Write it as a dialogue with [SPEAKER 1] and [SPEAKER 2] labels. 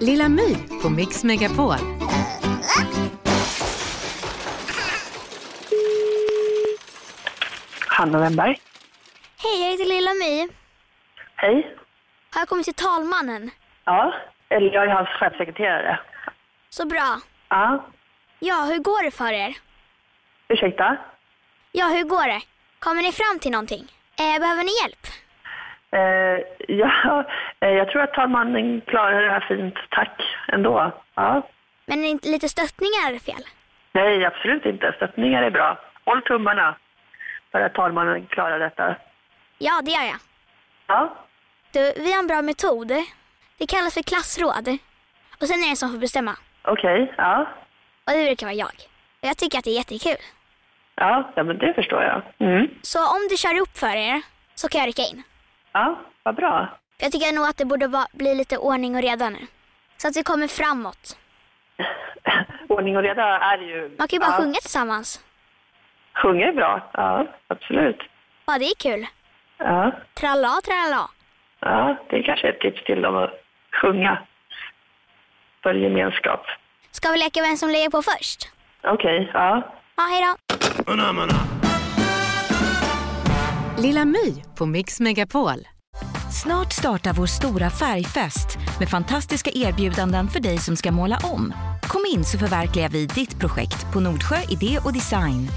[SPEAKER 1] Lilla My på Mix Megapol.
[SPEAKER 2] Hanna Wennberg.
[SPEAKER 3] Hej, jag heter Lilla My.
[SPEAKER 2] Hej.
[SPEAKER 3] Har jag kommit till talmannen?
[SPEAKER 2] Ja, eller jag är hans chefsekreterare.
[SPEAKER 3] Så bra.
[SPEAKER 2] Ja,
[SPEAKER 3] Ja, hur går det för er?
[SPEAKER 2] ursäkta.
[SPEAKER 3] Ja, hur går det? Kommer ni fram till någonting? Eh, behöver ni hjälp?
[SPEAKER 2] Eh, ja, eh, jag tror att talmannen klarar det här fint. Tack ändå. Ja.
[SPEAKER 3] Men är inte lite stöttningar är fel?
[SPEAKER 2] Nej, absolut inte. Stöttningar är bra. Håll tummarna för att talmannen klarar detta.
[SPEAKER 3] Ja, det gör jag.
[SPEAKER 2] Ja,
[SPEAKER 3] Du, vi har en bra metod. Det kallas för klassråd. Och sen är det en som får bestämma.
[SPEAKER 2] okej. Ja.
[SPEAKER 3] Och det brukar vara jag. Och jag tycker att det är jättekul.
[SPEAKER 2] Ja, ja, men det förstår jag. Mm.
[SPEAKER 3] Så om du kör upp för er så kan jag rycka in.
[SPEAKER 2] Ja, vad bra.
[SPEAKER 3] Jag tycker nog att det borde va- bli lite ordning och reda nu. Så att vi kommer framåt.
[SPEAKER 2] Ordning och reda är ju...
[SPEAKER 3] Man kan ju bara
[SPEAKER 2] ja,
[SPEAKER 3] sjunga tillsammans.
[SPEAKER 2] Sjunga är bra. Ja, absolut.
[SPEAKER 3] Ja, det är kul.
[SPEAKER 2] Ja,
[SPEAKER 3] Tralla, tralla.
[SPEAKER 2] ja, det är kanske ett tips till dem att sjunga för gemenskap.
[SPEAKER 3] Ska vi leka vem som lägger på först?
[SPEAKER 2] Okej, ja.
[SPEAKER 3] Ja, hej då.
[SPEAKER 1] Lilla My på Mix Megapol.
[SPEAKER 4] Snart startar vår stora färgfest med fantastiska erbjudanden för dig som ska måla om. Kom in så förverkligar vi ditt projekt på Nordsjö Idé och Design.